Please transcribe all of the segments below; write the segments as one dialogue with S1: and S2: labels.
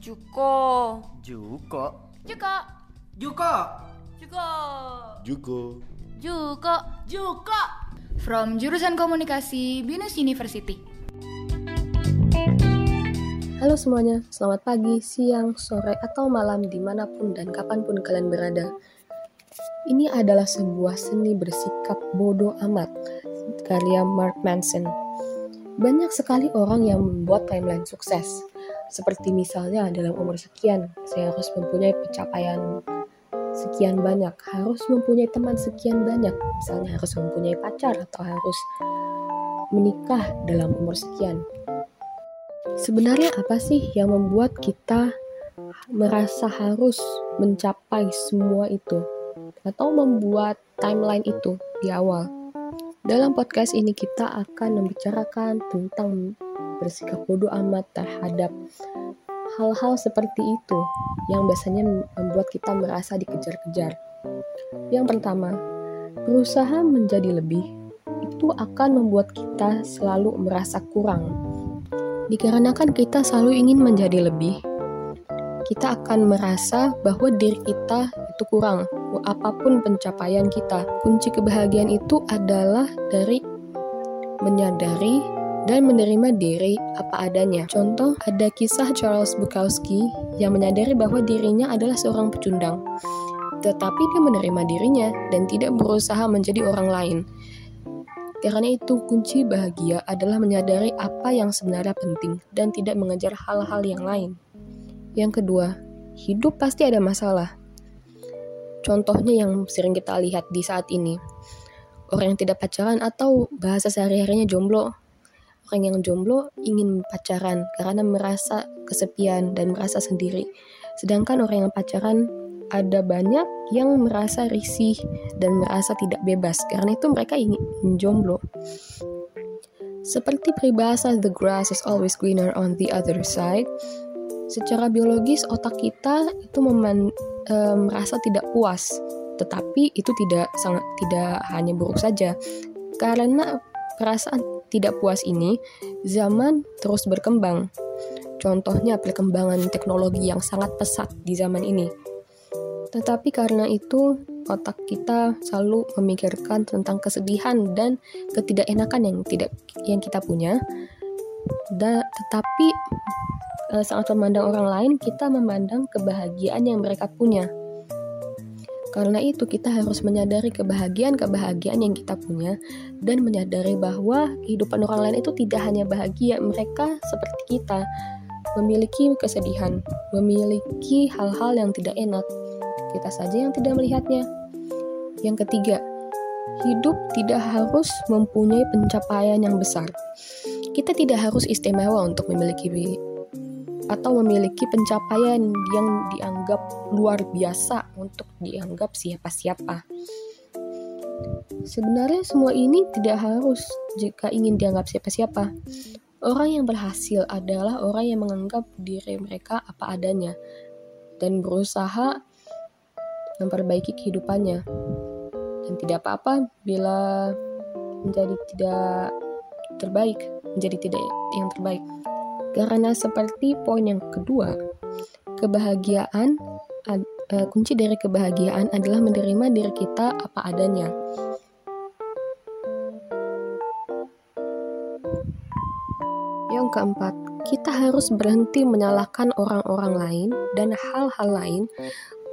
S1: Juko.
S2: Juko.
S1: Juko.
S2: Juko.
S1: Juko.
S3: Jugo.
S1: Juko. Juko.
S4: From jurusan komunikasi Binus University.
S5: Halo semuanya, selamat pagi, siang, sore, atau malam dimanapun dan kapanpun kalian berada. Ini adalah sebuah seni bersikap bodoh amat, karya Mark Manson. Banyak sekali orang yang membuat timeline sukses, seperti misalnya dalam umur sekian, saya harus mempunyai pencapaian sekian banyak, harus mempunyai teman sekian banyak, misalnya harus mempunyai pacar atau harus menikah dalam umur sekian. Sebenarnya apa sih yang membuat kita merasa harus mencapai semua itu atau membuat timeline itu di awal? Dalam podcast ini kita akan membicarakan tentang bersikap bodoh amat terhadap hal-hal seperti itu yang biasanya membuat kita merasa dikejar-kejar. Yang pertama, berusaha menjadi lebih itu akan membuat kita selalu merasa kurang Dikarenakan kita selalu ingin menjadi lebih, kita akan merasa bahwa diri kita itu kurang, apapun pencapaian kita. Kunci kebahagiaan itu adalah dari menyadari dan menerima diri apa adanya. Contoh, ada kisah Charles Bukowski yang menyadari bahwa dirinya adalah seorang pecundang. Tetapi dia menerima dirinya dan tidak berusaha menjadi orang lain. Karena itu, kunci bahagia adalah menyadari apa yang sebenarnya penting dan tidak mengejar hal-hal yang lain. Yang kedua, hidup pasti ada masalah. Contohnya yang sering kita lihat di saat ini. Orang yang tidak pacaran atau bahasa sehari-harinya jomblo. Orang yang jomblo ingin pacaran karena merasa kesepian dan merasa sendiri. Sedangkan orang yang pacaran ada banyak yang merasa risih dan merasa tidak bebas karena itu mereka ingin menjomblo. Seperti peribahasa the grass is always greener on the other side, secara biologis otak kita itu meman- eh, merasa tidak puas, tetapi itu tidak sangat tidak hanya buruk saja. Karena perasaan tidak puas ini zaman terus berkembang. Contohnya perkembangan teknologi yang sangat pesat di zaman ini. Tetapi karena itu, otak kita selalu memikirkan tentang kesedihan dan ketidakenakan yang tidak yang kita punya. Da, tetapi eh, sangat memandang orang lain, kita memandang kebahagiaan yang mereka punya. Karena itu kita harus menyadari kebahagiaan-kebahagiaan yang kita punya dan menyadari bahwa kehidupan orang lain itu tidak hanya bahagia, mereka seperti kita memiliki kesedihan, memiliki hal-hal yang tidak enak kita saja yang tidak melihatnya. Yang ketiga, hidup tidak harus mempunyai pencapaian yang besar. Kita tidak harus istimewa untuk memiliki atau memiliki pencapaian yang dianggap luar biasa untuk dianggap siapa-siapa. Sebenarnya semua ini tidak harus jika ingin dianggap siapa-siapa. Orang yang berhasil adalah orang yang menganggap diri mereka apa adanya dan berusaha memperbaiki kehidupannya. Dan tidak apa-apa bila menjadi tidak terbaik, menjadi tidak yang terbaik. Karena seperti poin yang kedua, kebahagiaan ad- eh, kunci dari kebahagiaan adalah menerima diri kita apa adanya. Yang keempat, kita harus berhenti menyalahkan orang-orang lain dan hal-hal lain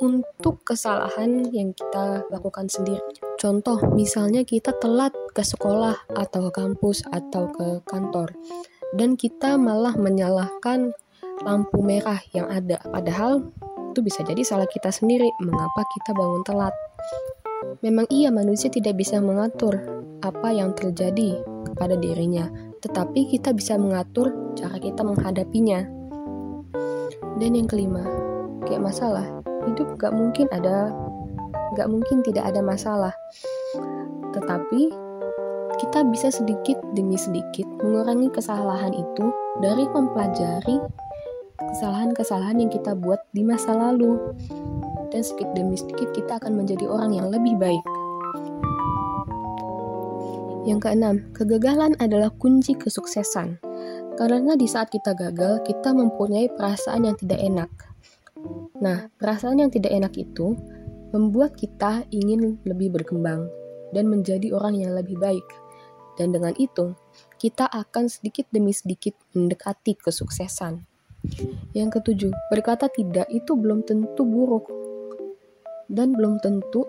S5: untuk kesalahan yang kita lakukan sendiri. Contoh, misalnya kita telat ke sekolah atau ke kampus atau ke kantor dan kita malah menyalahkan lampu merah yang ada padahal itu bisa jadi salah kita sendiri mengapa kita bangun telat. Memang iya manusia tidak bisa mengatur apa yang terjadi kepada dirinya, tetapi kita bisa mengatur cara kita menghadapinya. Dan yang kelima, kayak masalah, hidup gak mungkin ada gak mungkin tidak ada masalah tetapi kita bisa sedikit demi sedikit mengurangi kesalahan itu dari mempelajari kesalahan-kesalahan yang kita buat di masa lalu dan sedikit demi sedikit kita akan menjadi orang yang lebih baik yang keenam, kegagalan adalah kunci kesuksesan. Karena di saat kita gagal, kita mempunyai perasaan yang tidak enak. Nah, perasaan yang tidak enak itu membuat kita ingin lebih berkembang dan menjadi orang yang lebih baik. Dan dengan itu, kita akan sedikit demi sedikit mendekati kesuksesan. Yang ketujuh, berkata tidak itu belum tentu buruk dan belum tentu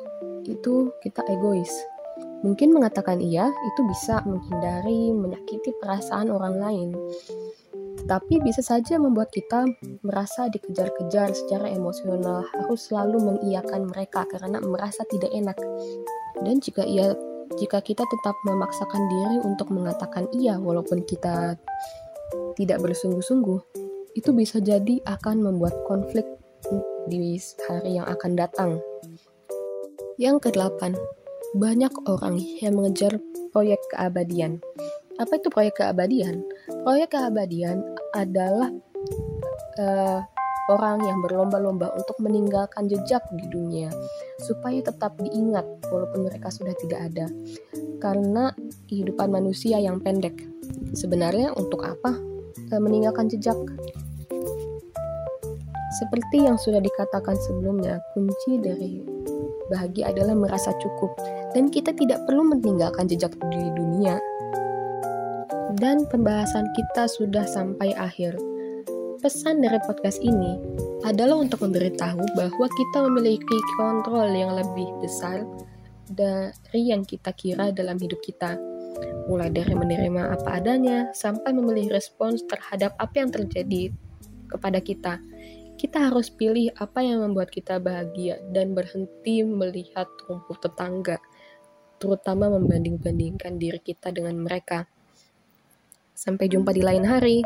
S5: itu kita egois. Mungkin mengatakan iya itu bisa menghindari menyakiti perasaan orang lain. Tetapi bisa saja membuat kita merasa dikejar-kejar secara emosional, harus selalu mengiyakan mereka karena merasa tidak enak. Dan jika ia jika kita tetap memaksakan diri untuk mengatakan iya walaupun kita tidak bersungguh-sungguh, itu bisa jadi akan membuat konflik di hari yang akan datang. Yang kedelapan, banyak orang yang mengejar proyek keabadian. Apa itu proyek keabadian? Proyek keabadian adalah eh, orang yang berlomba-lomba untuk meninggalkan jejak di dunia supaya tetap diingat walaupun mereka sudah tidak ada. Karena kehidupan manusia yang pendek. Sebenarnya untuk apa eh, meninggalkan jejak? Seperti yang sudah dikatakan sebelumnya, kunci dari bahagia adalah merasa cukup, dan kita tidak perlu meninggalkan jejak di dunia. Dan pembahasan kita sudah sampai akhir. Pesan dari podcast ini adalah untuk memberitahu bahwa kita memiliki kontrol yang lebih besar dari yang kita kira dalam hidup kita. Mulai dari menerima apa adanya sampai memilih respons terhadap apa yang terjadi kepada kita kita harus pilih apa yang membuat kita bahagia dan berhenti melihat rumput tetangga, terutama membanding-bandingkan diri kita dengan mereka. Sampai jumpa di lain hari.